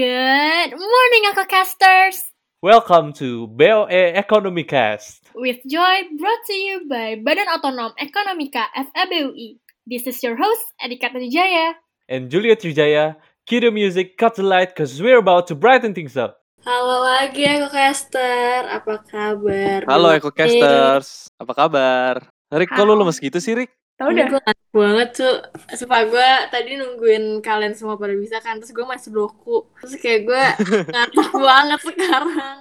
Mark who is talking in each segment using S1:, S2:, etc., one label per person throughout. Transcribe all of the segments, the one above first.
S1: Good morning, Uncle Casters!
S2: Welcome to E BOE Economy Cast.
S1: With joy brought to you by Badan Otonom Ekonomika FABUI. This is your host, Erika Tanujaya.
S2: And Juliet Wijaya, cue the music, cut the light, cause we're about to brighten things up.
S3: Halo lagi Eko Caster, apa kabar?
S4: Halo EcoCasters, apa kabar? Rik, kok lu lemes gitu sih, Rik?
S3: Tau udah gue ngantuk banget tuh Sumpah gue tadi nungguin kalian semua pada bisa kan Terus gue masih doku Terus kayak gue ngantuk banget sekarang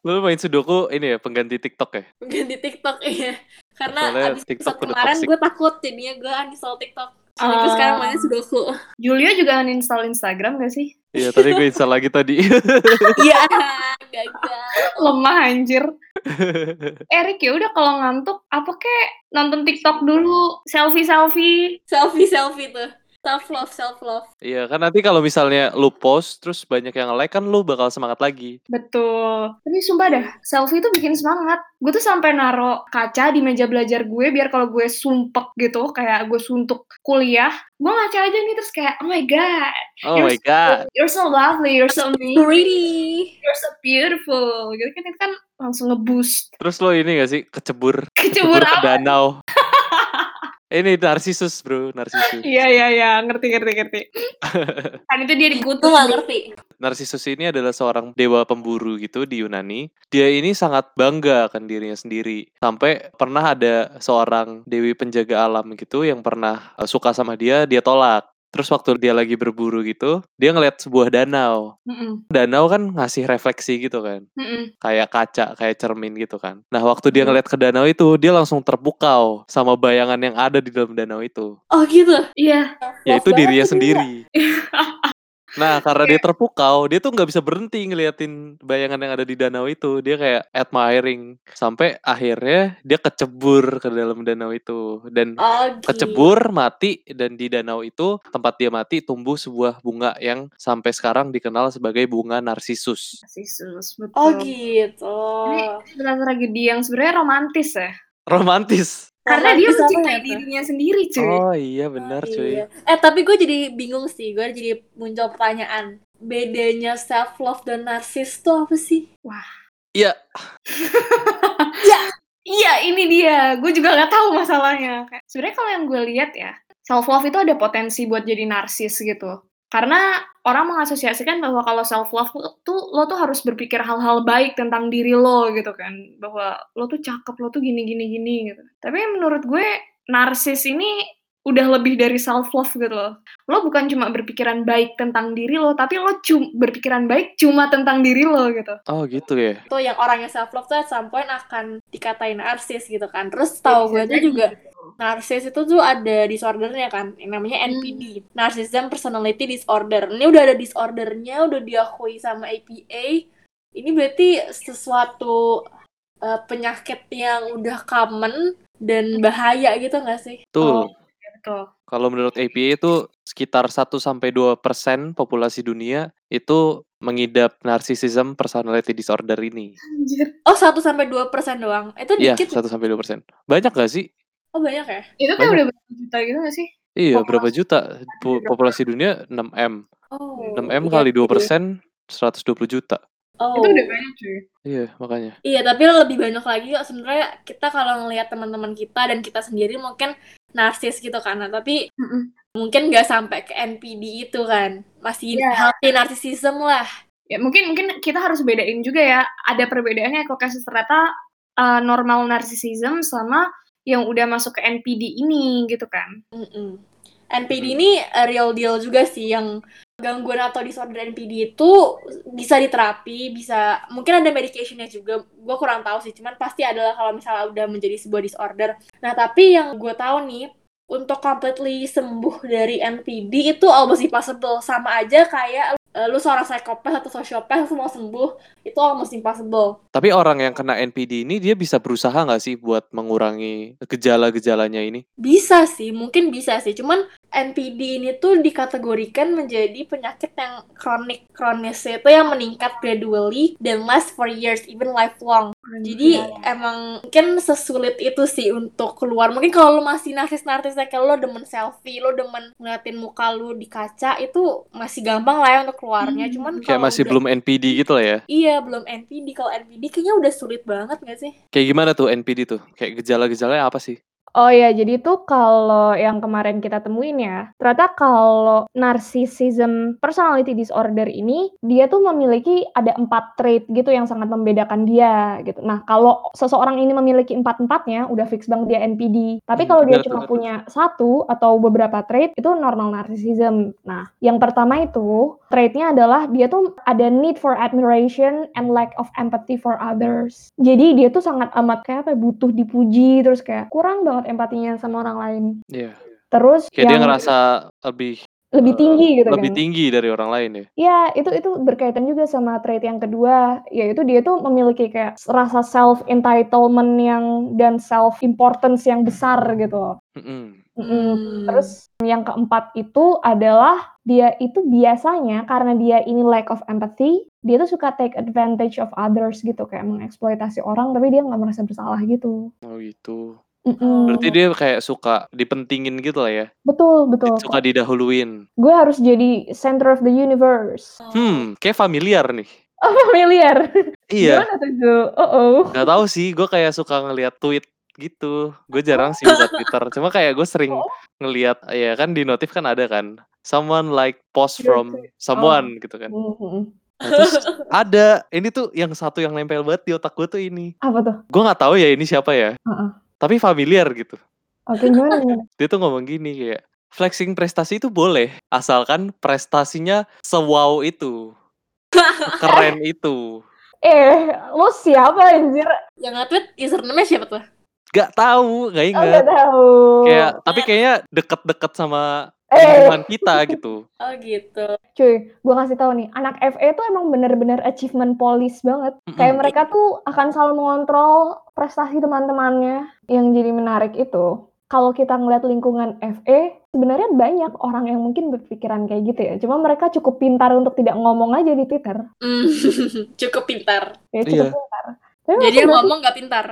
S4: Lu main Sudoku ini ya, pengganti TikTok ya?
S3: Ganti Tiktok iya Karena
S4: Soalnya
S3: abis
S4: TikTok
S3: episode
S4: udah
S3: kemarin
S4: toxic.
S3: gue takut Jadinya gue uninstall TikTok Jadi gue
S5: Ah.
S3: sekarang mainnya Sudoku
S5: Julia juga uninstall Instagram gak sih?
S4: Iya, tadi gue install lagi tadi.
S3: Iya Gagal
S5: Lemah anjir. Erik ya udah kalau ngantuk apa kek nonton TikTok dulu, selfie-selfie.
S3: Selfie-selfie tuh Self-love, self-love
S4: Iya, kan nanti kalau misalnya lu post, terus banyak yang like, kan lu bakal semangat lagi.
S5: Betul. Tapi sumpah dah, selfie itu bikin semangat. Gue tuh sampai naro kaca di meja belajar gue biar kalau gue sumpek gitu, kayak gue suntuk kuliah, gue ngaca aja nih terus kayak oh my god,
S4: Oh my God.
S5: you're so lovely, you're so amazing,
S3: Pretty
S5: you're so beautiful. Gitu kan itu kan langsung ngeboost.
S4: Terus lu ini gak sih, kecebur?
S5: Kecebur
S4: ke
S5: apa?
S4: danau. ini narsisus, bro. Narsisus.
S5: Iya iya iya, ngerti ngerti ngerti. kan itu dia
S3: Gue
S5: dikutuk.
S3: gak ngerti
S4: Narsisus ini adalah seorang dewa pemburu gitu di Yunani. Dia ini sangat bangga akan dirinya sendiri. Sampai pernah ada seorang dewi penjaga alam gitu yang pernah eh, suka sama dia, dia tolak. Terus waktu dia lagi berburu gitu, dia ngeliat sebuah danau.
S5: Mm-mm.
S4: Danau kan ngasih refleksi gitu kan.
S5: Mm-mm.
S4: Kayak kaca, kayak cermin gitu kan. Nah waktu dia ngeliat ke danau itu, dia langsung terpukau sama bayangan yang ada di dalam danau itu.
S3: Oh gitu
S5: Iya,
S4: Yaitu Ya,
S3: Love
S4: dirinya
S3: banget tuh dia.
S4: sendiri. Nah, karena dia terpukau, dia tuh nggak bisa berhenti ngeliatin bayangan yang ada di danau itu. Dia kayak admiring sampai akhirnya dia kecebur ke dalam danau itu dan
S3: Oh gitu
S4: kecebur mati dan di danau itu tempat dia mati tumbuh sebuah bunga yang sampai sekarang dikenal sebagai bunga narsisus.
S5: Narsisus, betul.
S3: Oh gitu.
S5: Cerita tragedi yang sebenarnya romantis ya.
S4: Romantis.
S5: Karena dia
S3: Romantis apa
S5: mencintai
S3: ya, Teh?
S5: dirinya sendiri, cuy.
S4: Oh iya benar cuy.
S3: Iya. Eh tapi gue jadi bingung sih, gue jadi muncul pertanyaan. Bedanya self love dan narsis tuh apa sih?
S4: Iya,
S5: Iya, ini dia. Gue juga nggak tahu masalahnya. Kayak, Sebenarnya kalau yang gue lihat ya, self love itu ada potensi buat jadi narsis gitu. Karena orang mengasosiasikan bahwa kalau self love tuh lo tuh harus berpikir hal-hal baik tentang diri lo gitu kan, bahwa lo tuh cakep, lo tuh gini gini gini gitu. Tapi menurut gue narsis ini udah lebih dari self love gitu loh. Lo bukan cuma berpikiran baik tentang diri lo, tapi lo cum- berpikiran baik cuma tentang diri lo gitu.
S4: oh gitu ya.
S3: Tuh yang orang yang self love tuh at some point akan dikatain narsis gitu kan. Terus tahu gue tuh juga narsis itu tuh ada disordernya kan, yang namanya NPD, Narcissism Personality Disorder. Ini udah ada disordernya, udah diakui sama APA. Ini berarti sesuatu eh, penyakit yang udah common dan bahaya gitu nggak sih?
S4: Tuh.
S5: Betul.
S4: Kalau menurut APA itu sekitar 1 sampai 2% populasi dunia itu mengidap narcissism personality disorder ini.
S5: Anjir.
S3: Oh, 1 sampai 2 persen doang. Itu
S4: Iya,
S3: dikit.
S4: 1 sampai 2%. Banyak gak sih?
S3: Oh, banyak ya?
S5: Itu kayak udah berapa juta gitu gak sih?
S4: Iya, berapa juta Po- populasi dunia 6M.
S3: Oh.
S4: 6M kali 2% 120 juta.
S3: Oh.
S5: Itu udah banyak cuy.
S4: Iya, makanya.
S3: Iya, tapi lebih banyak lagi kok sebenarnya kita kalau ngelihat teman-teman kita dan kita sendiri mungkin narsis gitu kan. Nah, tapi
S5: Mm-mm.
S3: mungkin nggak sampai ke NPD itu kan. Masih
S5: Iya.
S3: healthy narcissism lah.
S5: Ya mungkin mungkin kita harus bedain juga ya. Ada perbedaannya kalau kasus ternyata uh, normal narcissism sama yang udah masuk ke NPD ini gitu kan.
S3: Mm-mm. NPD ini eh, real deal juga sih yang gangguan atau disorder NPD itu bisa diterapi, bisa mungkin ada medicationnya juga. Gue kurang tahu sih, cuman pasti adalah kalau misalnya udah menjadi sebuah disorder. Nah tapi yang gue tahu nih untuk completely sembuh dari NPD itu almost impossible. Sama aja kayak eh, lu seorang psikopat atau sosiopat semua sembuh itu almost impossible.
S4: Tapi orang yang kena NPD ini dia bisa berusaha nggak sih buat mengurangi gejala-gejalanya ini?
S3: Bisa sih, mungkin bisa sih. Cuman NPD ini tuh dikategorikan menjadi penyakit yang kronik. Kronis itu yang meningkat gradually dan last for years, even lifelong. Jadi
S5: Iya.
S3: emang mungkin sesulit itu sih untuk keluar. Mungkin kalau lu masih narsis-narsisnya kayak lo demen selfie, lo demen ngeliatin muka lu di kaca itu masih gampang lah ya untuk keluarnya.
S6: Hmm.
S3: Cuman
S4: Kayak
S3: kalau
S4: masih
S3: udah-
S4: belum NPD gitu lah ya.
S3: Iya, belum NPD. Kalau NPD kayaknya udah sulit banget gak sih?
S4: Kayak gimana tuh NPD tuh? Kayak gejala-gejalanya apa sih?
S5: Oh ya, jadi itu kalau yang kemarin kita temuin ya, ternyata kalau narcissism personality disorder ini, dia tuh memiliki ada empat trait gitu yang sangat membedakan dia gitu. Nah, kalau seseorang ini memiliki empat-empatnya, udah fix banget dia NPD. Tapi
S4: Hmm,
S5: kalau dia
S4: benar tuh,
S5: cuma
S4: benar tuh.
S5: punya satu atau beberapa trait, itu normal narcissism. Nah, yang pertama itu, traitnya adalah dia tuh ada need for admiration and lack of empathy for others. Jadi dia tuh sangat amat kayak apa ya, butuh dipuji terus kayak kurang banget empatinya sama orang lain.
S4: Iya.
S5: Terus
S4: Kayak dia
S5: yang
S4: ngerasa lebih
S5: lebih
S4: eh,
S5: tinggi gitu
S4: lebih
S5: kan.
S4: tinggi dari orang lain ya.
S5: Ya, itu itu berkaitan juga sama trait yang kedua, yaitu dia tuh memiliki kayak rasa self entitlement yang dan self importance yang besar gitu loh.
S4: Mm-mm.
S5: Mm-mm. Hmm,
S3: Hmm.
S5: Terus yang keempat itu adalah dia itu biasanya karena dia ini lack of empathy, dia tuh suka take advantage of others gitu kayak mengeksploitasi orang tapi dia nggak merasa bersalah gitu.
S4: Oh gitu.
S5: Mm-mm.
S4: Berarti dia kayak suka dipentingin gitu lah ya.
S5: betul betul.
S4: Suka didahuluin.
S5: Gue harus jadi center of the universe.
S4: Hmm, kayak familiar nih.
S5: Oh familiar.
S4: Iya,
S5: Gimana tuh Zu? Oh oh.
S4: nggak tahu sih. Gue kayak suka ngelihat tweet gitu. Gue jarang
S5: Oh.
S4: sih buka Twitter. Cuma kayak gue sering ngelihat ya kan di notif kan ada kan. Someone like post
S5: Iya,
S4: from someone gitu kan.
S5: Mhm.
S4: Nah, terus ada ini tuh yang satu yang nempel banget di otak gue tuh ini.
S5: Apa tuh?
S4: Gue nggak tahu ya ini siapa ya.
S5: Heeh.
S4: Tapi familiar gitu.
S5: Oke gimana? gimana?
S4: Dia tuh ngomong gini kayak flexing prestasi itu boleh asalkan prestasinya sewow itu. Keren itu.
S5: Eh, lo siapa anjir?
S3: Yang nge-tweet username-nya siapa tuh?
S4: Gak tahu, gak
S5: Oh,
S4: ingat.
S5: gak tahu.
S4: Kayak tapi kayaknya deket-deket sama
S5: eh,
S4: lingkungan kita gitu.
S3: Oh gitu.
S5: cuy, gue kasih tahu nih, anak FE tuh emang bener-bener achievement police banget. Kayak
S4: Mm-mm.
S5: mereka tuh akan selalu mengontrol prestasi teman-temannya. Yang jadi menarik itu, kalau kita ngeliat lingkungan FE, sebenarnya banyak orang yang mungkin berpikiran kayak gitu ya. Cuma mereka cukup pintar untuk tidak ngomong aja di Twitter.
S3: Hmm, Cukup pintar.
S5: Ya, cukup
S4: Iya.
S5: pintar. Tapi
S3: Jadi yang
S5: maksudnya-
S3: ngomong gak pintar.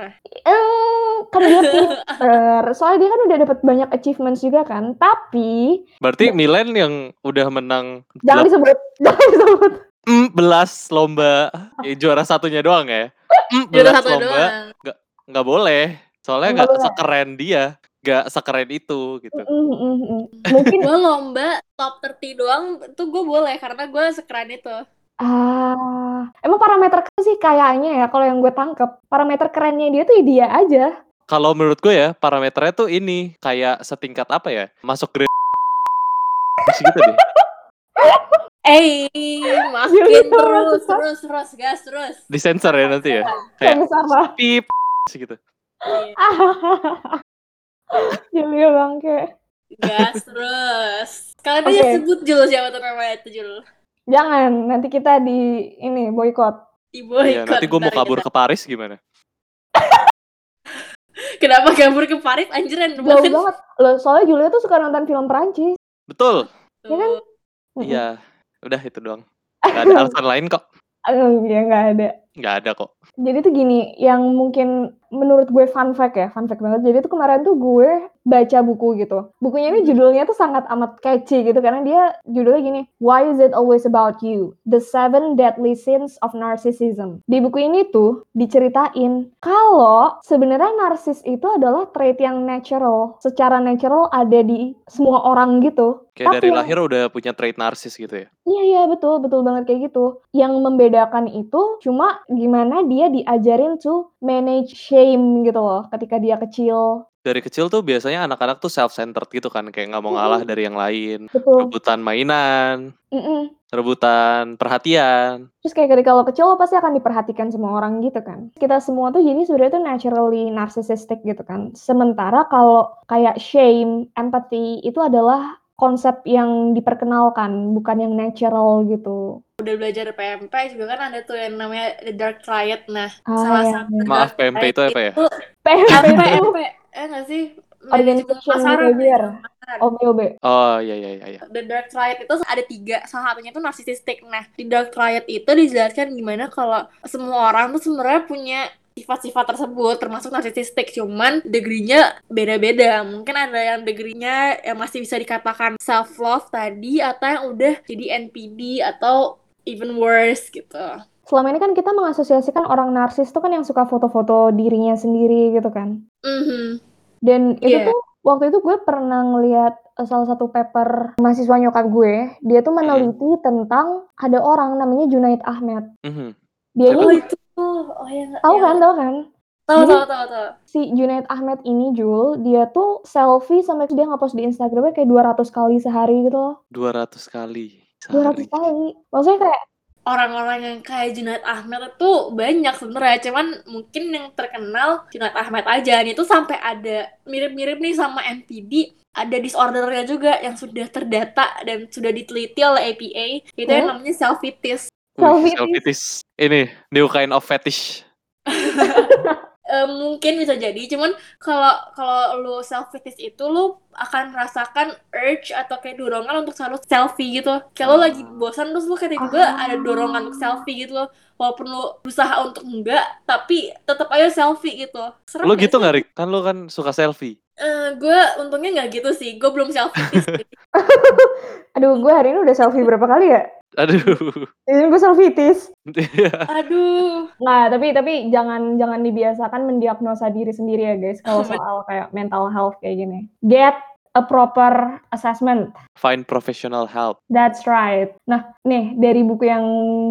S5: Eh, kan dia pinter. Soalnya dia kan udah dapat banyak achievements juga kan. Tapi
S4: Berarti Milan yang udah menang
S5: jangan disebut, jangan disebut.
S4: 14 lomba eh, juara satunya doang ya. 14
S3: Juara satu
S4: lomba
S3: doang.
S4: nggak boleh. Soalnya
S5: Nggak
S4: nggak
S5: boleh.
S4: sekeren dia, nggak sekeren itu gitu.
S5: Mm, mm, mm. Mungkin
S3: Gue lomba top 30 doang tuh gue boleh karena gue sekeren itu.
S5: ah emang parameter keren sih kayaknya ya kalau yang gue tangkep parameter kerennya dia tuh ya dia aja.
S4: Kalau menurut gue ya parameternya tuh ini kayak setingkat apa ya? Masuk grade gitu deh.
S3: Eh, makin
S5: Jadi
S3: terus,
S5: orang
S3: terus, terus, gas, terus.
S4: Disensor ya nanti ya.
S5: Kayak
S4: Kayak
S5: besar lah.
S4: pip gitu.
S3: Iya,
S5: Julio bangke.
S3: Gas, terus. Kalian aja
S5: Oke.
S3: sebut Jul siapa tuh namanya itu Jul.
S5: Jangan nanti kita di ini boykot.
S3: Ibu
S4: Iya, nanti gue mau kabur ke Paris gimana?
S3: Kenapa kabur ke Paris? Anjir, random
S5: Jauh banget. Loh, soalnya Julio tuh suka nonton film Perancis.
S4: Betul.
S5: ya kan?
S4: Iya. Udah itu doang. Gak ada alasan lain kok.
S5: Aduh, ya nggak ada.
S4: Nggak ada kok.
S5: Jadi tuh gini, yang mungkin menurut gue fun fact ya, fun fact banget. Jadi tuh kemarin tuh gue baca buku gitu. Bukunya
S4: Hmm.
S5: ini judulnya tuh sangat amat catchy gitu karena dia judulnya gini, Why is it always about you? The Seven Deadly Sins of Narcissism. Di buku ini tuh diceritain kalau sebenarnya narsis itu adalah trait yang natural, secara natural ada di semua orang gitu.
S4: Kayak dari
S5: Tapi yang-
S4: lahir udah punya trait narsis gitu ya.
S5: Iya, iya, betul, betul banget kayak gitu. Yang membedakan itu cuma gimana dia diajarin to manage shame gitu loh ketika dia kecil.
S4: Dari kecil tuh biasanya anak-anak tuh self-centered gitu kan. Kayak nggak mau ngalah dari yang lain.
S5: Betul.
S4: Rebutan mainan.
S5: Gitu. Mm-mm.
S4: rebutan perhatian.
S5: Terus kayak ketika lo kecil lo pasti akan diperhatikan semua orang gitu kan. Kita semua tuh jadi sebenarnya tuh naturally narcissistic gitu kan. Sementara kalau kayak shame, empathy itu adalah konsep yang diperkenalkan, bukan yang natural gitu.
S3: Udah belajar PMP juga kan ada tuh yang namanya The Dark Triad. Nah,
S5: Ah,
S3: salah
S5: ya.
S3: satu
S4: Maaf PMP itu
S3: gitu.
S4: apa ya?
S5: PMP itu
S3: PMP, eh nggak sih? Manajemen
S5: Organization
S3: pasaran.
S5: Behavior.
S3: Pasaran.
S5: OBOB.
S4: Oh iya iya iya. iya.
S3: The Dark Triad itu ada tiga, salah satunya itu narcissistic. Nah, di Dark Triad itu dijelaskan gimana kalau semua orang tuh sebenarnya punya sifat-sifat tersebut termasuk narsisistik cuman degree-nya beda-beda mungkin ada yang degree-nya yang masih bisa dikatakan self love tadi atau yang udah jadi NPD atau even worse gitu
S5: Selama ini kan kita mengasosiasikan orang narsis tuh kan yang suka foto-foto dirinya sendiri gitu kan.
S3: Mhm.
S5: Dan itu
S3: Iya.
S5: tuh waktu itu gue pernah ngeliat eh, salah satu paper mahasiswa nyokap gue, dia
S3: Iya.
S5: tuh meneliti tentang ada orang namanya Junaid Ahmed.
S4: Mhm.
S5: Dia
S3: oh
S5: ini
S3: itu oh yang
S5: tahu
S3: yang-
S5: kan, tahu kan?
S3: tahu
S5: Jadi-
S3: tahu tahu tahu
S5: si Junaid Ahmed ini Jul dia tuh selfie sampai dia ngepost di Instagramnya kayak 200 kali sehari gitu loh
S4: 200 kali
S5: 200
S4: sehari.
S5: kali maksudnya kayak
S3: orang-orang yang kayak Junaid Ahmed itu banyak sebenarnya cuman mungkin yang terkenal Junaid Ahmed aja nih itu sampai ada mirip-mirip nih sama NPD ada disordernya juga yang sudah terdata dan sudah diteliti oleh APA itu yang
S5: Hmm?
S3: namanya selfitis
S4: Wih,
S5: Selfitis.
S4: selfitis. Ini new kind of fetish.
S3: Eh, mungkin bisa jadi cuman kalau kalau lu selfitis itu lu akan merasakan urge atau kayak dorongan untuk selalu selfie gitu kalau lagi bosan terus lu kayak tiba
S6: Ah.
S3: ada dorongan untuk selfie gitu loh walaupun lu berusaha untuk enggak tapi tetap aja selfie gitu Serem
S4: Lo
S3: nggak
S4: gitu
S3: sih?
S4: nggak Rik? Kan lo kan suka selfie.
S3: Eh, gue untungnya nggak gitu sih gue belum selfitis
S5: aduh gue hari ini udah selfie berapa kali ya
S4: Aduh.
S5: ini gue selfietis
S3: aduh
S5: nah tapi tapi jangan jangan dibiasakan mendiagnosa diri sendiri ya guys kalau
S3: Betul.
S5: soal kayak mental health kayak gini get a proper assessment
S4: Find professional help.
S5: That's right. Nah, nih dari buku yang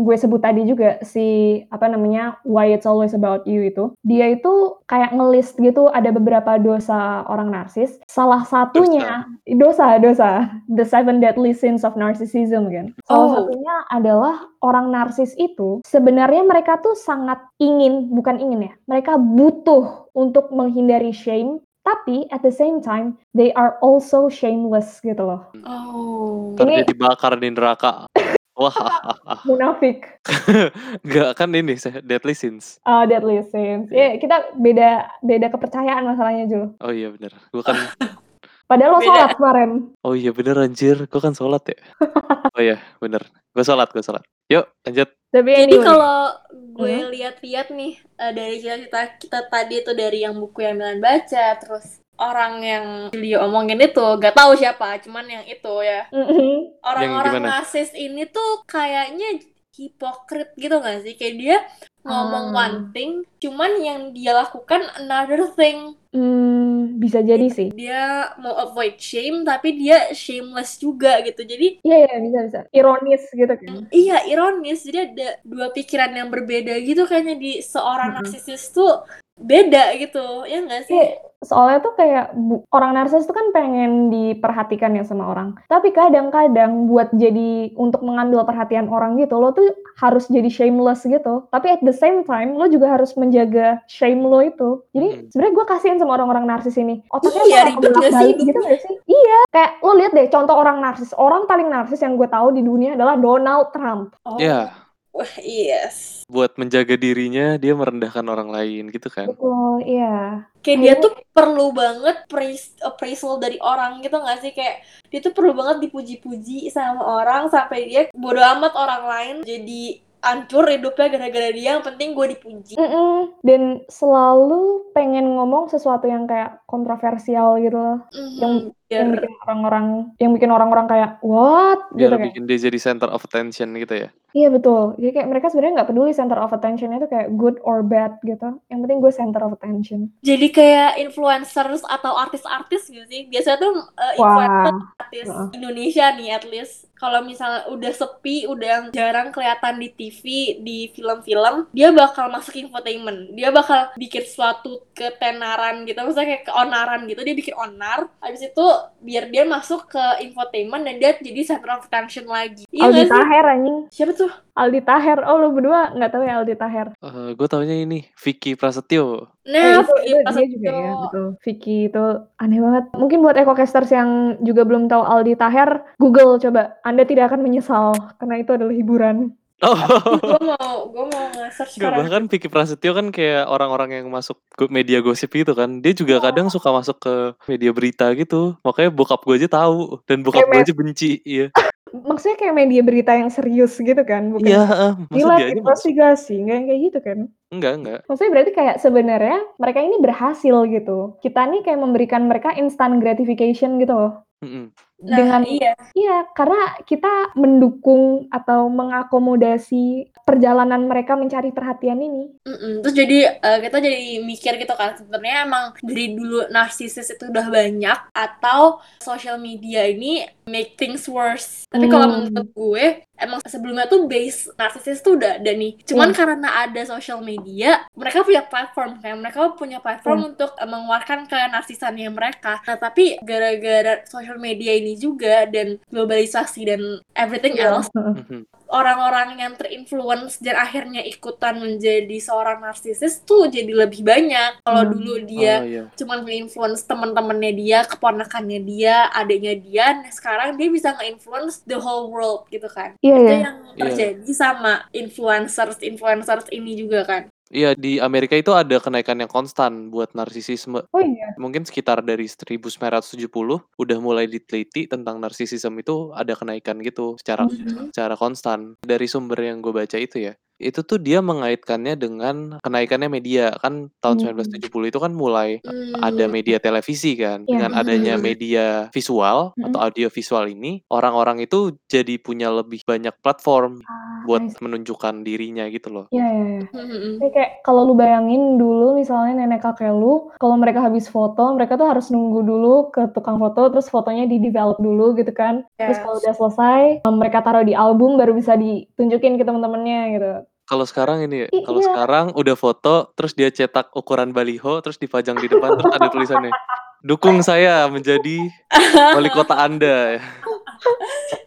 S5: gue sebut tadi juga si apa namanya Why It's Always About You itu, dia itu kayak ngelist gitu ada beberapa dosa orang narsis. Salah satunya dosa dosa the seven deadly sins of narcissism kan. Salah
S3: Oh.
S5: satunya adalah orang narsis itu sebenarnya mereka tuh sangat ingin bukan ingin ya, mereka butuh untuk menghindari shame. Tapi at the same time, they are also shameless gitu loh.
S3: oh
S4: Ntar
S5: Ini-
S4: dia dibakar di neraka. Wah,
S5: Munafik.
S4: nggak kan ini se- deadly sins.
S5: Oh, deadly sins. Ya,
S3: Iya.
S5: kita beda beda kepercayaan masalahnya, Jul.
S4: Oh iya bener. Gua kan.
S5: Padahal lo
S3: Beda.
S5: sholat kemarin.
S4: Oh iya bener anjir. Gua kan sholat ya. Oh iya bener. Gua sholat, gua sholat. Yuk lanjut.
S5: Tapi
S3: Jadi
S5: anyway,
S3: kalau gue
S5: Mhm.
S3: lihat-lihat nih eh, dari cerita kita tadi itu dari yang buku yang Milan baca, terus orang yang Julio omongin itu gak tahu siapa, cuman yang itu ya
S5: Mhm.
S3: orang-orang
S4: gimana?
S3: narsis ini tuh kayaknya hipokrit gitu gak sih? Kayak dia ngomong
S5: Ah.
S3: one thing, cuman yang dia lakukan another thing.
S5: Hmm, bisa jadi
S3: Iya.
S5: sih.
S3: Dia mau avoid shame, tapi dia shameless juga gitu. Jadi
S5: Iya, iya, bisa, bisa. Ironis gitu kan.
S3: Iya, ironis. Jadi ada dua pikiran yang berbeda gitu kayaknya di
S5: Mm-mm.
S3: seorang narsisis tuh beda gitu. Ya enggak sih?
S5: Iya, soalnya tuh kayak bu- orang narsis tuh kan pengen diperhatikan ya sama orang. Tapi kadang-kadang buat jadi untuk mengambil perhatian orang gitu, lo tuh harus jadi shameless gitu. Tapi at the same time, lo juga harus menjaga shame lo itu. Jadi
S4: Mhm.
S5: sebenarnya gue kasihin sama orang-orang narsis ini. Otaknya
S3: Hmm. Iya,
S5: tuh
S3: ribet gak sih
S5: bolak-balik gitu
S3: hidupnya?
S5: gak sih? Iya, kayak lo lihat deh contoh orang narsis. Orang paling narsis yang gue tahu di dunia adalah Donald Trump.
S3: Oh.
S4: Ya
S3: Wah, yes.
S4: buat menjaga dirinya dia merendahkan orang lain gitu kan.
S5: Betul, iya.
S3: Kayak dia tuh perlu banget praise, appraisal dari orang gitu enggak sih? Kayak dia tuh perlu banget dipuji-puji sama orang sampai dia bodo amat orang lain jadi hancur hidupnya gara-gara dia yang penting gue dipuji.
S5: Mm-mm. Dan selalu pengen ngomong sesuatu yang kayak kontroversial gitu loh.
S3: Mhm,
S5: yang
S3: biar-
S5: bikin orang-orang yang bikin orang-orang kayak what gitu
S4: Biar
S5: kayak
S4: bikin dia jadi center of attention gitu ya.
S5: iya betul jadi kayak mereka sebenarnya nggak peduli center of attention itu kayak good or bad gitu yang penting gue center of attention
S3: Jadi kayak influencers atau artis-artis gitu sih. Biasanya tuh eh, influencer
S5: wah
S3: artis
S5: Heeh.
S3: Indonesia nih at least kalau misalnya udah sepi udah yang jarang kelihatan di TV di film-film dia bakal masuk infotainment dia bakal bikin suatu ketenaran gitu misalnya kayak keonaran gitu dia bikin onar habis itu biar dia masuk ke infotainment dan dia jadi center of attention lagi iya
S5: Aldi
S3: nggak sih
S5: Taher anjing
S3: siapa tuh
S5: Aldi Taher oh lu berdua nggak tahu ya Aldi Taher
S4: Eh gue taunya ini Vicky Prasetyo.
S5: Eh,
S3: nah
S5: itu, itu
S3: pas
S5: dia juga ya betul Vicky itu aneh banget mungkin buat ekokasters yang juga belum tahu Aldi Taher Google coba Anda tidak akan menyesal karena itu adalah hiburan
S4: Oh.
S3: gue mau gue mau nge-search
S4: Gak
S3: sekarang
S4: bahkan Vicky Prasetyo kan kayak orang-orang yang masuk ke media gosip gitu kan Dia juga kadang suka masuk Iya, ke media berita gitu Makanya bokap gue aja tahu Dan bokap gue aja benci iya.
S5: maksudnya kayak media berita yang serius gitu kan, bukan gitu
S4: Iya, heeh. Masa
S5: gila
S4: dia aja masuk?
S5: investigasi, nggak yang kayak gitu kan.
S4: Enggak, enggak.
S5: Maksudnya berarti kayak sebenarnya mereka ini berhasil gitu. Kita nih kayak memberikan mereka instant gratification gitu loh.
S4: Mm-mm.
S3: Nah,
S5: Dengan-
S3: iya.
S5: Iya, karena kita mendukung atau mengakomodasi perjalanan mereka mencari perhatian ini.
S3: Mm-mm. Terus jadi eh, kita jadi mikir gitu kan sebenarnya emang dari dulu narsisis itu udah banyak atau social media ini make things worse. Tapi kalau
S5: Hmm.
S3: menurut gue emang sebelumnya tuh base narsisis tuh udah ada nih. Cuman
S5: Hmm.
S3: karena ada social media, mereka punya platform kayak mereka punya
S5: Hmm.
S3: platform untuk eh, mengeluarkan ke narsisannya mereka. Nah, tapi gara-gara social media ini juga dan globalisasi dan everything
S5: Iya.
S3: else
S4: Mhm.
S3: orang-orang yang terinfluence dan akhirnya ikutan menjadi seorang narsisis tuh jadi lebih banyak. Kalau
S5: Hmm.
S3: dulu dia
S4: Oh, iya.
S3: cuman nge-influence teman-temannya dia, keponakannya dia, adiknya dia, nah sekarang dia bisa nge-influence the whole world gitu kan.
S5: Iya,
S3: Itu
S5: iya.
S3: yang terjadi sama influencers-influencers ini juga kan.
S4: Iya, di Amerika itu ada kenaikan yang konstan buat narsisisme.
S5: Oh iya.
S4: mungkin sekitar dari 1970 udah mulai diteliti tentang narsisisme itu ada kenaikan gitu secara secara konstan dari sumber yang gue baca itu ya itu tuh dia mengaitkannya dengan kenaikannya media kan tahun
S5: Hmm.
S4: 1970 itu kan mulai
S3: Hmm.
S4: ada media televisi kan
S5: Iya. Hmm.
S4: dengan adanya
S3: Mhm.
S4: media visual atau audio visual ini orang-orang itu jadi punya lebih banyak platform
S5: I
S4: buat menunjukkan dirinya gitu loh
S5: Ah, Iya, iya, iya.
S3: Hmm.
S5: Ini kayak kalau lu bayangin dulu misalnya nenek kakek lu, kalau mereka habis foto, mereka tuh harus nunggu dulu ke tukang foto, terus fotonya di-develop dulu gitu kan. Terus kalau udah selesai, em, mereka taruh di album baru bisa ditunjukin ke temen-temennya gitu.
S4: Kalau sekarang ini, ya,
S5: I-
S4: kalau
S5: iya.
S4: sekarang udah foto, terus dia cetak ukuran baliho, terus dipajang di depan, terus ada tulisannya, dukung saya menjadi wali kota Anda.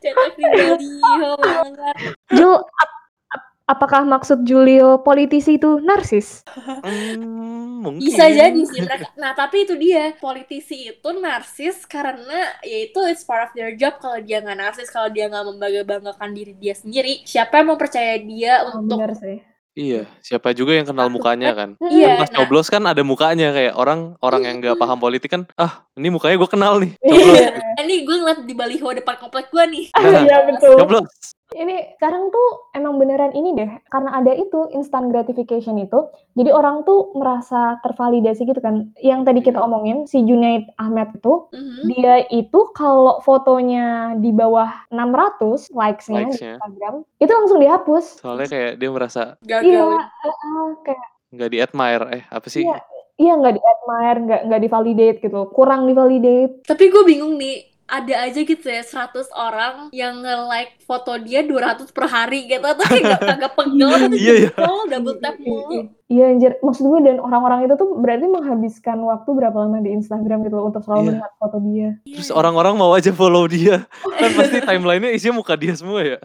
S3: Cetak di baliho banget.
S5: Jul, ap- ap- apakah maksud Julio politisi itu narsis?
S4: Hmm, mungkin.
S3: Bisa jadi sih mereka. Nah, tapi itu dia. Politisi itu narsis karena yaitu it's part of their job kalau dia nggak narsis, kalau dia nggak membangga-banggakan diri dia sendiri, siapa yang mau percaya dia
S5: Oh,
S3: untuk
S5: benar sih.
S4: Iya, siapa juga yang kenal mukanya kan?
S3: Iya,
S4: Pas
S3: nah.
S4: coblos kan ada mukanya kayak orang orang yang nggak paham politik kan, ah ini mukanya gue kenal nih. Coblos,
S5: Iya,
S3: Eh, Ini gue ngeliat di baliho depan komplek gue nih.
S4: Nah,
S5: iya betul.
S4: coblos.
S5: Ini sekarang tuh emang beneran ini deh, karena ada itu instant gratification itu, jadi orang tuh merasa tervalidasi gitu kan. Yang tadi
S4: Iya.
S5: kita omongin si Junaid Ahmed itu,
S4: Hmm?
S3: Mhm.
S5: dia itu kalau fotonya di bawah 600 likes-nya di
S4: Likes-nya.
S5: Instagram, itu langsung dihapus.
S4: Soalnya kayak dia merasa
S5: Iya,
S3: Gagal.
S5: heeh, kayak
S4: nggak di admire, eh apa sih?
S5: Iya. iya nggak di admire, nggak nggak divalidate gitu, kurang divalidate.
S3: Tapi gue bingung nih, ada aja gitu ya 100 orang yang nge-like foto dia 200 per hari gitu tuh kayak gak, kagak pegel tapi
S4: Iya, iya.
S3: jempol double tap mulu.
S5: Iya anjir, maksud gue dan orang-orang itu tuh berarti menghabiskan waktu berapa lama di Instagram gitu loh untuk selalu
S4: Iya.
S5: melihat foto dia.
S4: Terus orang-orang mau aja follow dia, kan pasti timelinenya isinya muka dia semua ya.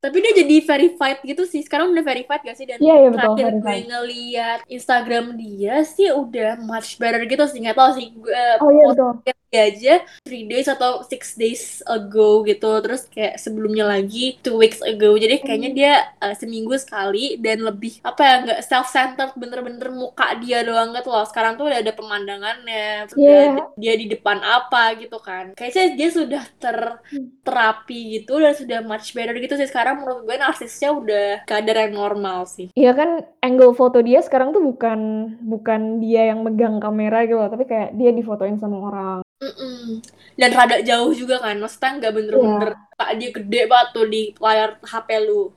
S3: Tapi dia jadi verified gitu sih. Sekarang udah verified gak sih? Dan
S5: Iya, iya, betul,
S3: terakhir gue
S5: verified.
S3: ngeliat Instagram dia sih udah much better gitu sih. Gak tau sih, gue eh,
S5: Oh iya betul.
S3: liat dia aja 3 days atau 6 days ago gitu. Terus kayak sebelumnya lagi 2 weeks ago. Jadi kayaknya
S5: Hmm.
S3: dia eh, seminggu sekali dan lebih apa ya, gak self-centered bener-bener muka dia doang gitu loh. Sekarang tuh udah ada pemandangannya. Terus
S5: Iya.
S3: dia- dia di depan apa gitu kan. Kayaknya dia sudah ter
S5: Hmm.
S3: terapi gitu dan sudah much better gitu sih sekarang menurut gue narsisnya udah kadar yang normal sih
S5: Iya kan angle foto dia sekarang tuh bukan bukan dia yang megang kamera gitu loh, tapi kayak dia difotoin sama orang.
S3: Mm-mm. dan rada jauh juga kan maksudnya nggak bener-bener pak dia gede banget tuh di layar HP lu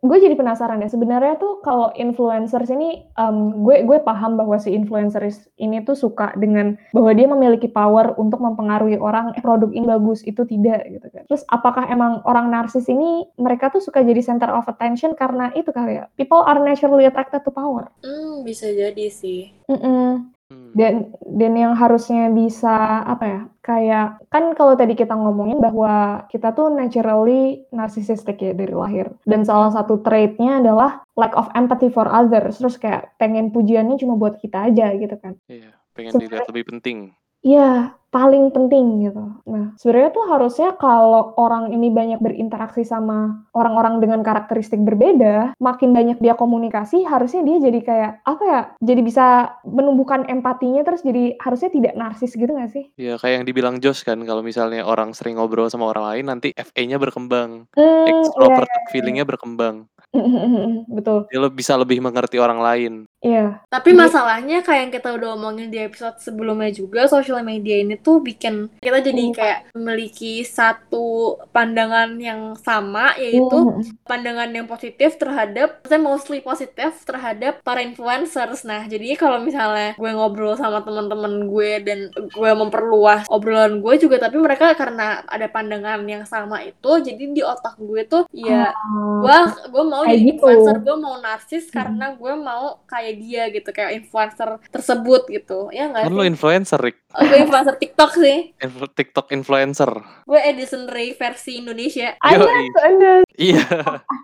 S5: Gue jadi penasaran ya sebenarnya tuh kalau influencers ini em, gue gue paham bahwa si influencers ini tuh suka dengan bahwa dia memiliki power untuk mempengaruhi orang "Eh, produk ini bagus itu tidak gitu kan. Terus apakah emang orang narsis ini mereka tuh suka jadi center of attention karena itu kali ya. People are naturally attracted to power.
S3: hmm bisa jadi sih
S5: Mm-mm.
S4: Hmm.
S5: dan dan yang harusnya bisa apa ya kayak kan kalau tadi kita ngomongin bahwa kita tuh naturally narcissistic ya dari lahir dan salah satu traitnya adalah lack of empathy for others terus kayak pengen pujiannya cuma buat kita aja gitu kan
S4: Iya, pengen dilihat
S5: Sebenarnya-
S4: lebih penting.
S5: ya paling penting gitu. Nah, sebenarnya tuh harusnya kalau orang ini banyak berinteraksi sama orang-orang dengan karakteristik berbeda, makin banyak dia komunikasi, harusnya dia jadi kayak apa ya? Jadi bisa menumbuhkan empatinya terus jadi harusnya tidak narsis gitu nggak sih?
S4: Ya kayak yang dibilang Josh kan kalau misalnya orang sering ngobrol sama orang lain nanti FA-nya berkembang,
S5: Hmm, iya,
S4: extrovert feeling-nya berkembang.
S5: iya. betul.
S4: Dia le- bisa lebih mengerti orang lain.
S5: Iya.
S3: Tapi
S5: Jadi-
S3: masalahnya kayak yang kita udah omongin di episode sebelumnya juga, social media ini tuh bikin kita jadi
S5: Iya.
S3: kayak memiliki satu pandangan yang sama, yaitu pandangan yang positif terhadap, saya mostly positif terhadap para influencers. Nah, jadi kalau misalnya gue ngobrol sama teman-teman gue dan gue memperluas obrolan gue juga, tapi mereka karena ada pandangan yang sama itu, jadi di otak gue tuh ya
S5: Ah,
S3: gue gue mau
S5: Kayak gitu.
S3: jadi
S5: Hmm.
S3: influencer gue mau narsis karena gue mau kayak dia gitu kayak influencer tersebut gitu ya nggak
S4: Kan lo
S5: Iya.
S3: sih
S4: influencer, Rick.
S3: Oh, gue influencer TikTok sih
S4: Influ- TikTok influencer.
S3: gue Edison Ray versi Indonesia
S5: Anda
S4: Yoi.
S5: tuh Anda.
S4: Iya.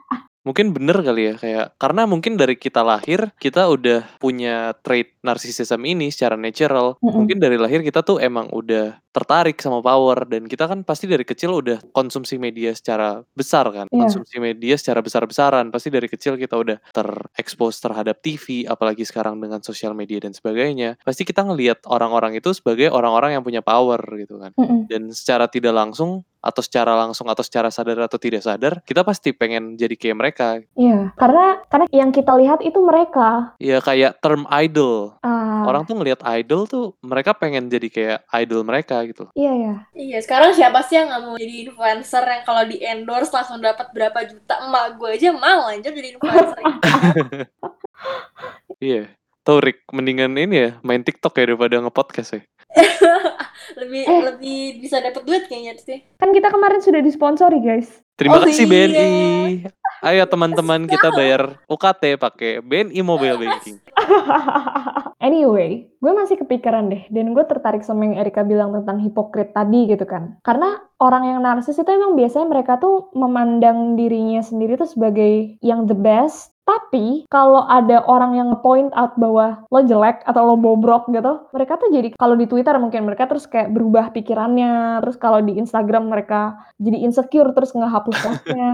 S4: mungkin bener kali ya kayak karena mungkin dari kita lahir kita udah punya trait narsisism ini secara natural.
S5: Mm-mm.
S4: Mungkin dari lahir kita tuh emang udah tertarik sama power dan kita kan pasti dari kecil udah konsumsi media secara besar kan.
S5: Iya.
S4: Konsumsi media secara besar-besaran. Pasti dari kecil kita udah terekspos terhadap TV apalagi sekarang dengan sosial media dan sebagainya. Pasti kita ngelihat orang-orang itu sebagai orang-orang yang punya power gitu kan
S5: Mm-mm.
S4: dan secara tidak langsung atau secara langsung atau secara sadar atau tidak sadar kita pasti pengen jadi kayak mereka
S5: Iya, karena karena yang kita lihat itu mereka.
S4: ya kayak term idol
S5: Ah,
S3: Hmm.
S4: orang tuh ngelihat idol tuh mereka pengen jadi kayak idol mereka gitu
S5: Iya ya.
S3: iya sekarang siapa sih yang nggak mau jadi influencer yang kalau di endorse langsung dapat berapa juta emak gue aja mau anjir jadi influencer
S4: iya Tau Rick, mendingan ini ya main TikTok ya daripada ngepodcast ya
S3: lebih
S5: Eh.
S3: lebih bisa dapat duit kayaknya sih
S5: Kan kita kemarin sudah disponsori, guys.
S4: terima
S3: Oh,
S4: kasih
S3: iya.
S4: BNI ayo teman-teman kita bayar UKT pakai BNI mobile banking
S5: Anyway, gue masih kepikiran deh, dan gue tertarik sama yang Erika bilang tentang hipokrit tadi gitu kan. Karena orang yang narsis itu emang biasanya mereka tuh memandang dirinya sendiri tuh sebagai yang the best, tapi kalau ada orang yang point out bahwa lo jelek atau lo bobrok gitu, mereka tuh jadi kalau di Twitter mungkin mereka terus kayak berubah pikirannya, terus kalau di Instagram mereka jadi insecure terus ngehapus postnya.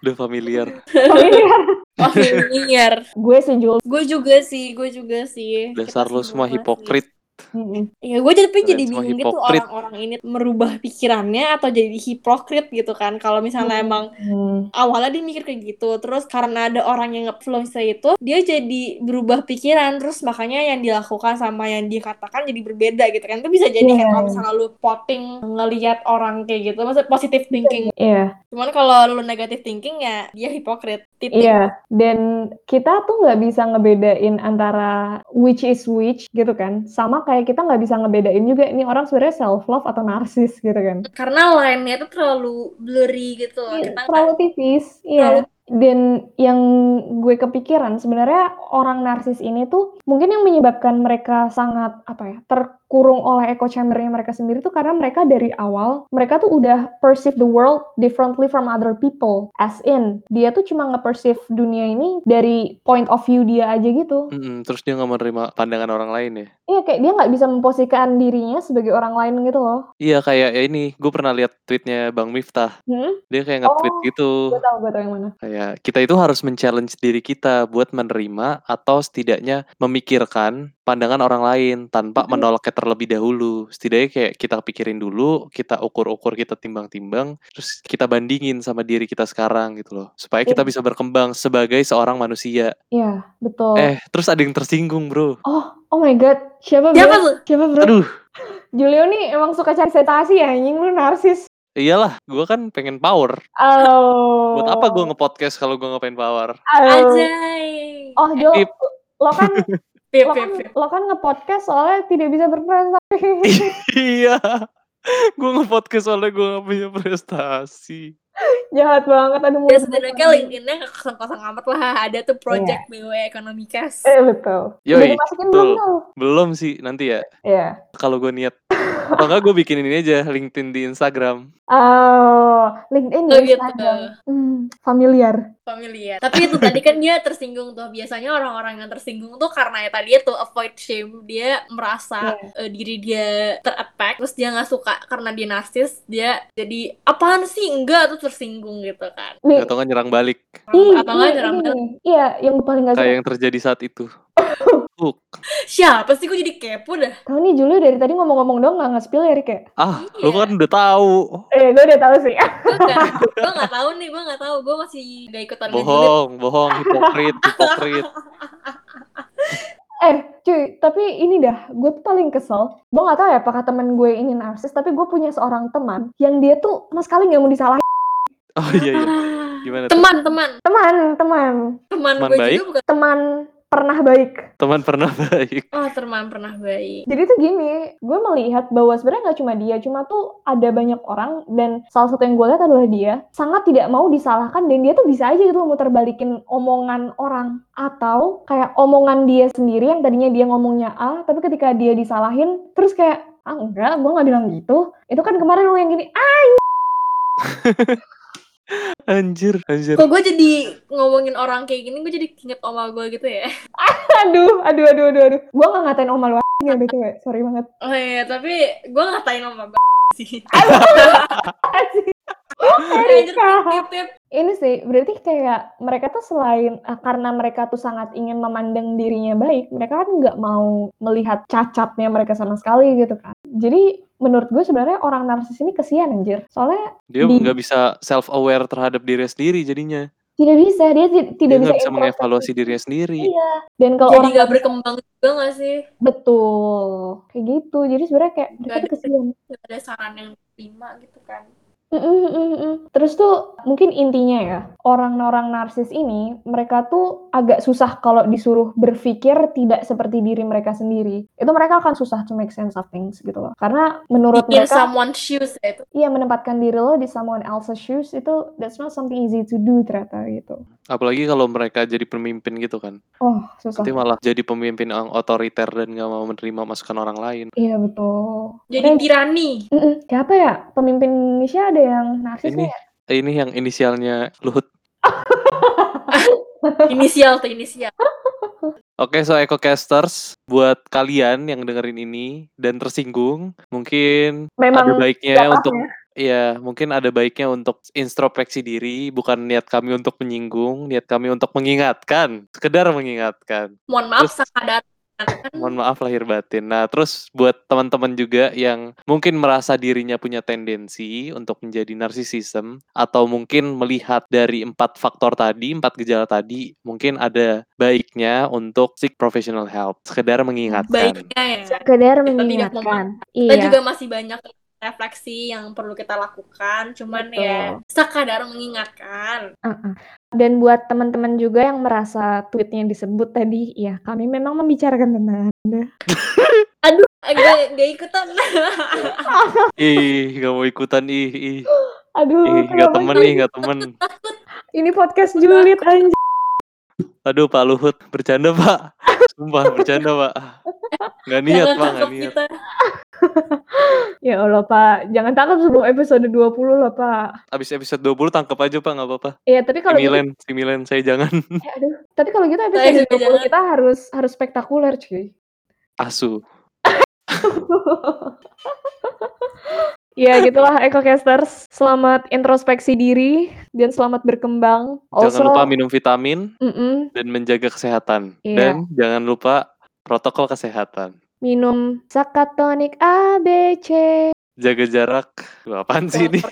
S4: udah familiar
S5: Oh iya.
S3: wah familiar
S5: gue sih Jul.
S3: gue juga sih gue juga sih
S4: dasar
S3: Kita
S4: lo semua
S3: sih.
S4: hipokrit
S5: Mm-mm.
S3: Iya, gue jadi tapi
S4: Kalian
S3: jadi
S4: semua
S3: bingung gitu
S4: hipokrit.
S3: orang-orang ini merubah pikirannya atau jadi hipokrit gitu kan. Kalau misalnya emang
S5: Hmm.
S3: awalnya dia mikir kayak gitu, terus karena ada orang yang influencer itu, dia jadi berubah pikiran, terus makanya yang dilakukan sama yang dikatakan jadi berbeda gitu kan. Itu bisa jadi
S5: Iya.
S3: kayak kalau misalnya lu potting ngelihat orang kayak gitu, maksudnya positive thinking.
S5: Iya.
S3: Cuman kalau lu negative thinking ya dia hipokrit. Titik.
S5: Iya, dan kita tuh nggak bisa ngebedain antara which is which gitu kan. Sama kayak kita nggak bisa ngebedain juga ini orang sebenarnya self love atau narsis gitu kan.
S3: Karena lainnya itu terlalu blurry gitu loh. Kita nggak-
S5: Iya, Terlalu tipis, iya. Dan yang gue kepikiran sebenarnya orang narsis ini tuh mungkin yang menyebabkan mereka sangat apa ya terkurung oleh echo chambernya mereka sendiri tuh karena mereka dari awal mereka tuh udah perceive the world differently from other people as in dia tuh cuma nge-perceive dunia ini dari point of view dia aja gitu
S4: Mm-mm, terus dia nggak menerima pandangan orang lain ya
S5: Iya kayak dia nggak bisa memposisikan dirinya sebagai orang lain gitu loh.
S4: Iya kayak ya ini, gue pernah lihat tweetnya Bang Miftah.
S5: Hmm?
S4: Dia kayak nge-tweet
S5: Oh.
S4: gitu.
S5: Gue tau, gue tau yang mana.
S4: Kayak kita itu harus men-challenge diri kita buat menerima atau setidaknya memikirkan pandangan orang lain tanpa
S5: Mm-mm.
S4: menolaknya terlebih dahulu. Setidaknya kayak kita pikirin dulu, kita ukur-ukur, kita timbang-timbang, terus kita bandingin sama diri kita sekarang gitu loh. Supaya kita
S5: Iya.
S4: bisa berkembang sebagai seorang manusia.
S5: Iya betul.
S4: Eh, terus ada yang tersinggung, Bro.
S5: Oh my god, siapa bro?
S3: Siapa tuh?
S5: Siapa bro?
S4: Aduh,
S5: Julio nih emang suka cari sensasi ya, anjing lu narsis.
S4: iyalah, gua kan pengen power.
S5: Oh.
S4: Buat apa gua nge-podcast kalau gua nggak pengen power?
S3: Ajay.
S5: Oh, Jul,
S4: Pip.
S5: lo kan
S3: Pip,
S5: lo
S3: pip,
S5: kan
S3: pip.
S5: lo kan nge-podcast soalnya tidak bisa berprestasi.
S4: Iya. Gue nge-podcast soalnya gue gak punya prestasi.
S5: Jahat banget Iya. aduh
S3: Ya
S5: mulut gue
S3: sebenarnya
S5: tadi.
S3: LinkedIn-nya nggak kosong-kosong amat lah. Ada tuh project E BW Ekonomikas.
S5: Eh betul.
S4: Yoi,
S5: Udah dimasukin belum
S4: betul.
S5: tuh?
S4: Belum sih nanti ya.
S5: Iya.
S4: Kalau gue niat Atau enggak gue bikin ini aja LinkedIn di Instagram.
S5: Oh, LinkedIn di
S3: Oh, gitu.
S5: Instagram. Hmm, familiar.
S3: familiar. Tapi itu tadi kan dia tersinggung tuh. Biasanya orang-orang yang tersinggung tuh karena ya tadi itu avoid shame. Dia merasa
S5: Iya.
S3: eh, diri dia terattack, terus dia nggak suka karena dia narsis, dia jadi apaan sih enggak tuh tersinggung gitu kan.
S5: Nih,
S4: Atau enggak nyerang balik
S5: ih,
S3: Atau nggak
S5: ini-
S3: nyerang
S5: ini
S3: balik.
S5: nih. Iya, yang gue paling gak suka.
S4: kayak yang terjadi saat itu. Hook.
S3: Siapa sih gue jadi kepo dah.
S5: Tahu nih Julio dari tadi ngomong-ngomong doang gak nge-spill ya, Rik ya?
S4: Ah, lu kan udah tahu.
S5: Eh, gue udah tahu sih.
S3: Gue gak, gue nggak tahu nih, gue nggak tahu. Gue masih gak ikutan gitu.
S4: Bohong, bohong, hipokrit, hipokrit.
S5: Eh, cuy, tapi ini dah, gue tuh paling kesel. Gue gak tahu ya apakah temen gue ini narsis, tapi gue punya seorang teman yang dia tuh sama sekali gak mau disalahin.
S4: Oh iya iya. Gimana tuh?
S3: Ah, Teman, teman,
S5: Teman, teman,
S3: teman
S4: Teman
S3: gue
S4: baik?
S3: juga bukan.
S5: teman pernah baik.
S4: Teman pernah baik.
S3: Oh, teman pernah baik.
S5: Jadi tuh gini, gue melihat bahwa sebenarnya nggak cuma dia, cuma tuh ada banyak orang dan salah satu yang gue lihat adalah dia sangat tidak mau disalahkan dan dia tuh bisa aja gitu loh muter balikin omongan orang atau kayak omongan dia sendiri yang tadinya dia ngomongnya A, tapi ketika dia disalahin terus kayak ah enggak, gue nggak bilang gitu. Itu kan kemarin lo yang gini, ah
S4: Anjir, anjir.
S3: Kok gue jadi ngomongin orang kayak gini, gue jadi inget oma gue gitu ya.
S5: aduh, aduh, aduh, aduh, aduh. Gue nggak ngatain oma lu ya btw, sorry banget.
S3: Oh iya, tapi gue ngatain sama b sih. Anjir, tip, tip, tip.
S5: ini sih berarti kayak mereka tuh selain eh, karena mereka tuh sangat ingin memandang dirinya baik, mereka kan nggak mau melihat cacatnya mereka sama sekali gitu kan. Jadi menurut gue sebenarnya orang narsis ini kesian anjir. Soalnya
S4: Dia
S5: Di-
S4: nggak bisa self aware terhadap dirinya sendiri jadinya.
S5: tidak bisa dia ti- tidak bisa,
S4: Dia nggak bisa
S5: introspeksi.
S4: mengevaluasi dirinya sendiri.
S5: Iya. Dan kalau
S3: Jadi
S5: orang
S3: gak berkembang juga gak sih?
S5: betul kayak gitu. Jadi sebenarnya kayak mereka tuh
S3: Nggak ada-
S5: kesian.
S3: Gak ada saran yang terima gitu kan.
S5: Mm-mm, mm-mm. Terus tuh mungkin intinya ya orang-orang narsis ini mereka tuh agak susah kalau disuruh berpikir tidak seperti diri mereka sendiri itu mereka akan susah to make sense of things gitu loh karena menurut mereka
S3: Bikin someone shoes ya itu.
S5: iya menempatkan diri lo di someone else's shoes itu that's not something easy to do ternyata gitu
S4: Apalagi kalau mereka jadi pemimpin gitu kan.
S5: oh susah
S4: Nanti malah jadi pemimpin yang otoriter dan nggak mau menerima masukan orang lain.
S5: iya betul Kayak-
S3: Jadi tirani.
S5: Mm-mm. siapa ya pemimpin Indonesia ada yang narsis
S4: Ini
S5: nggak ya?
S4: ini yang inisialnya Luhut.
S3: Inisial tuh inisial.
S4: Oke, so EcoCasters, buat kalian yang dengerin ini dan tersinggung, mungkin
S5: memang
S4: ada baiknya
S5: nggak ya.
S4: untuk Iya, mungkin ada baiknya untuk introspeksi diri, bukan niat kami untuk menyinggung, niat kami untuk mengingatkan, sekedar mengingatkan.
S3: Mohon maaf
S4: Terus-
S3: sadar.
S5: Hmm.
S4: Mohon maaf lahir batin. Nah, terus buat teman-teman juga yang mungkin merasa dirinya punya tendensi untuk menjadi narsisism atau mungkin melihat dari empat faktor tadi, empat gejala tadi, mungkin ada baiknya untuk seek professional help. Sekedar mengingatkan.
S3: Baiknya ya.
S5: sekedar
S3: tidak
S5: mengingatkan
S3: Kita
S5: iya
S3: juga masih banyak refleksi yang perlu kita lakukan. Cuman
S5: Betul.
S3: ya sekadar mengingatkan.
S5: Uh-uh. Dan buat teman-teman juga yang merasa tweetnya disebut tadi, ya kami memang membicarakan tentang Anda.
S3: Eh, Gak, gak ikutan.
S4: Ih, gak mau ikutan ih, ih,
S5: Aduh,
S4: ih, gak
S5: kenapa
S4: temen
S5: ini-
S4: nih, gak temen.
S5: Ini podcast julid anjir.
S4: Aduh Pak Luhut, bercanda Pak. Sumpah bercanda Pak. Nggak niat
S3: Jangan
S4: Pak, nggak
S3: tangkap
S4: niat.
S3: kita.
S5: Ya Allah, Pak. Jangan tangkap sebelum episode 20 lah, Pak.
S4: Abis episode 20 tangkap aja Pak, nggak apa-apa.
S5: Iya, tapi
S4: Si
S5: kalau gitu,
S4: Milen, si Milen, saya jangan.
S5: eh, aduh. Tapi kalau gitu
S3: Saya
S5: episode
S3: juga
S5: 20
S3: jangan.
S5: kita harus harus spektakuler, cuy.
S4: Asu.
S5: ya, gitulah EcoCasters. Selamat introspeksi diri dan selamat berkembang. Also,
S4: Jangan lupa minum vitamin
S5: mm-mm,
S4: dan menjaga kesehatan.
S5: Iya.
S4: Dan jangan lupa protokol kesehatan.
S5: minum Sakatonik ABC.
S4: Jaga jarak. Duh, apaan sih ini?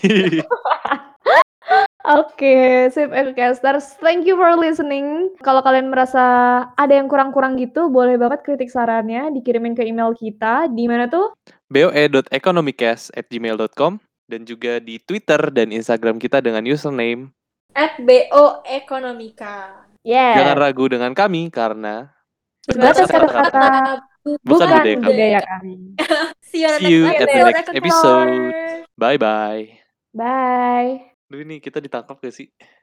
S5: Oke, sip Educasters. Thank you for listening. Kalau kalian merasa ada yang kurang-kurang gitu, boleh banget kritik sarannya dikirimin ke email kita. Di mana tuh?
S4: E boe.economicast@gmail.com dan juga di Twitter dan Instagram kita dengan username
S3: At BO Ekonomika.
S5: Yeah.
S4: Jangan ragu dengan kami karena
S5: Berbatas kata-kata
S4: bukan, E
S5: bukan Iya, ya kan.
S4: budaya kamu.
S5: budaya kami.
S3: See you,
S4: See you
S3: next
S4: at the
S3: episode.
S4: next episode. Bye-bye.
S5: Bye.
S4: Duh ini kita ditangkap gak sih?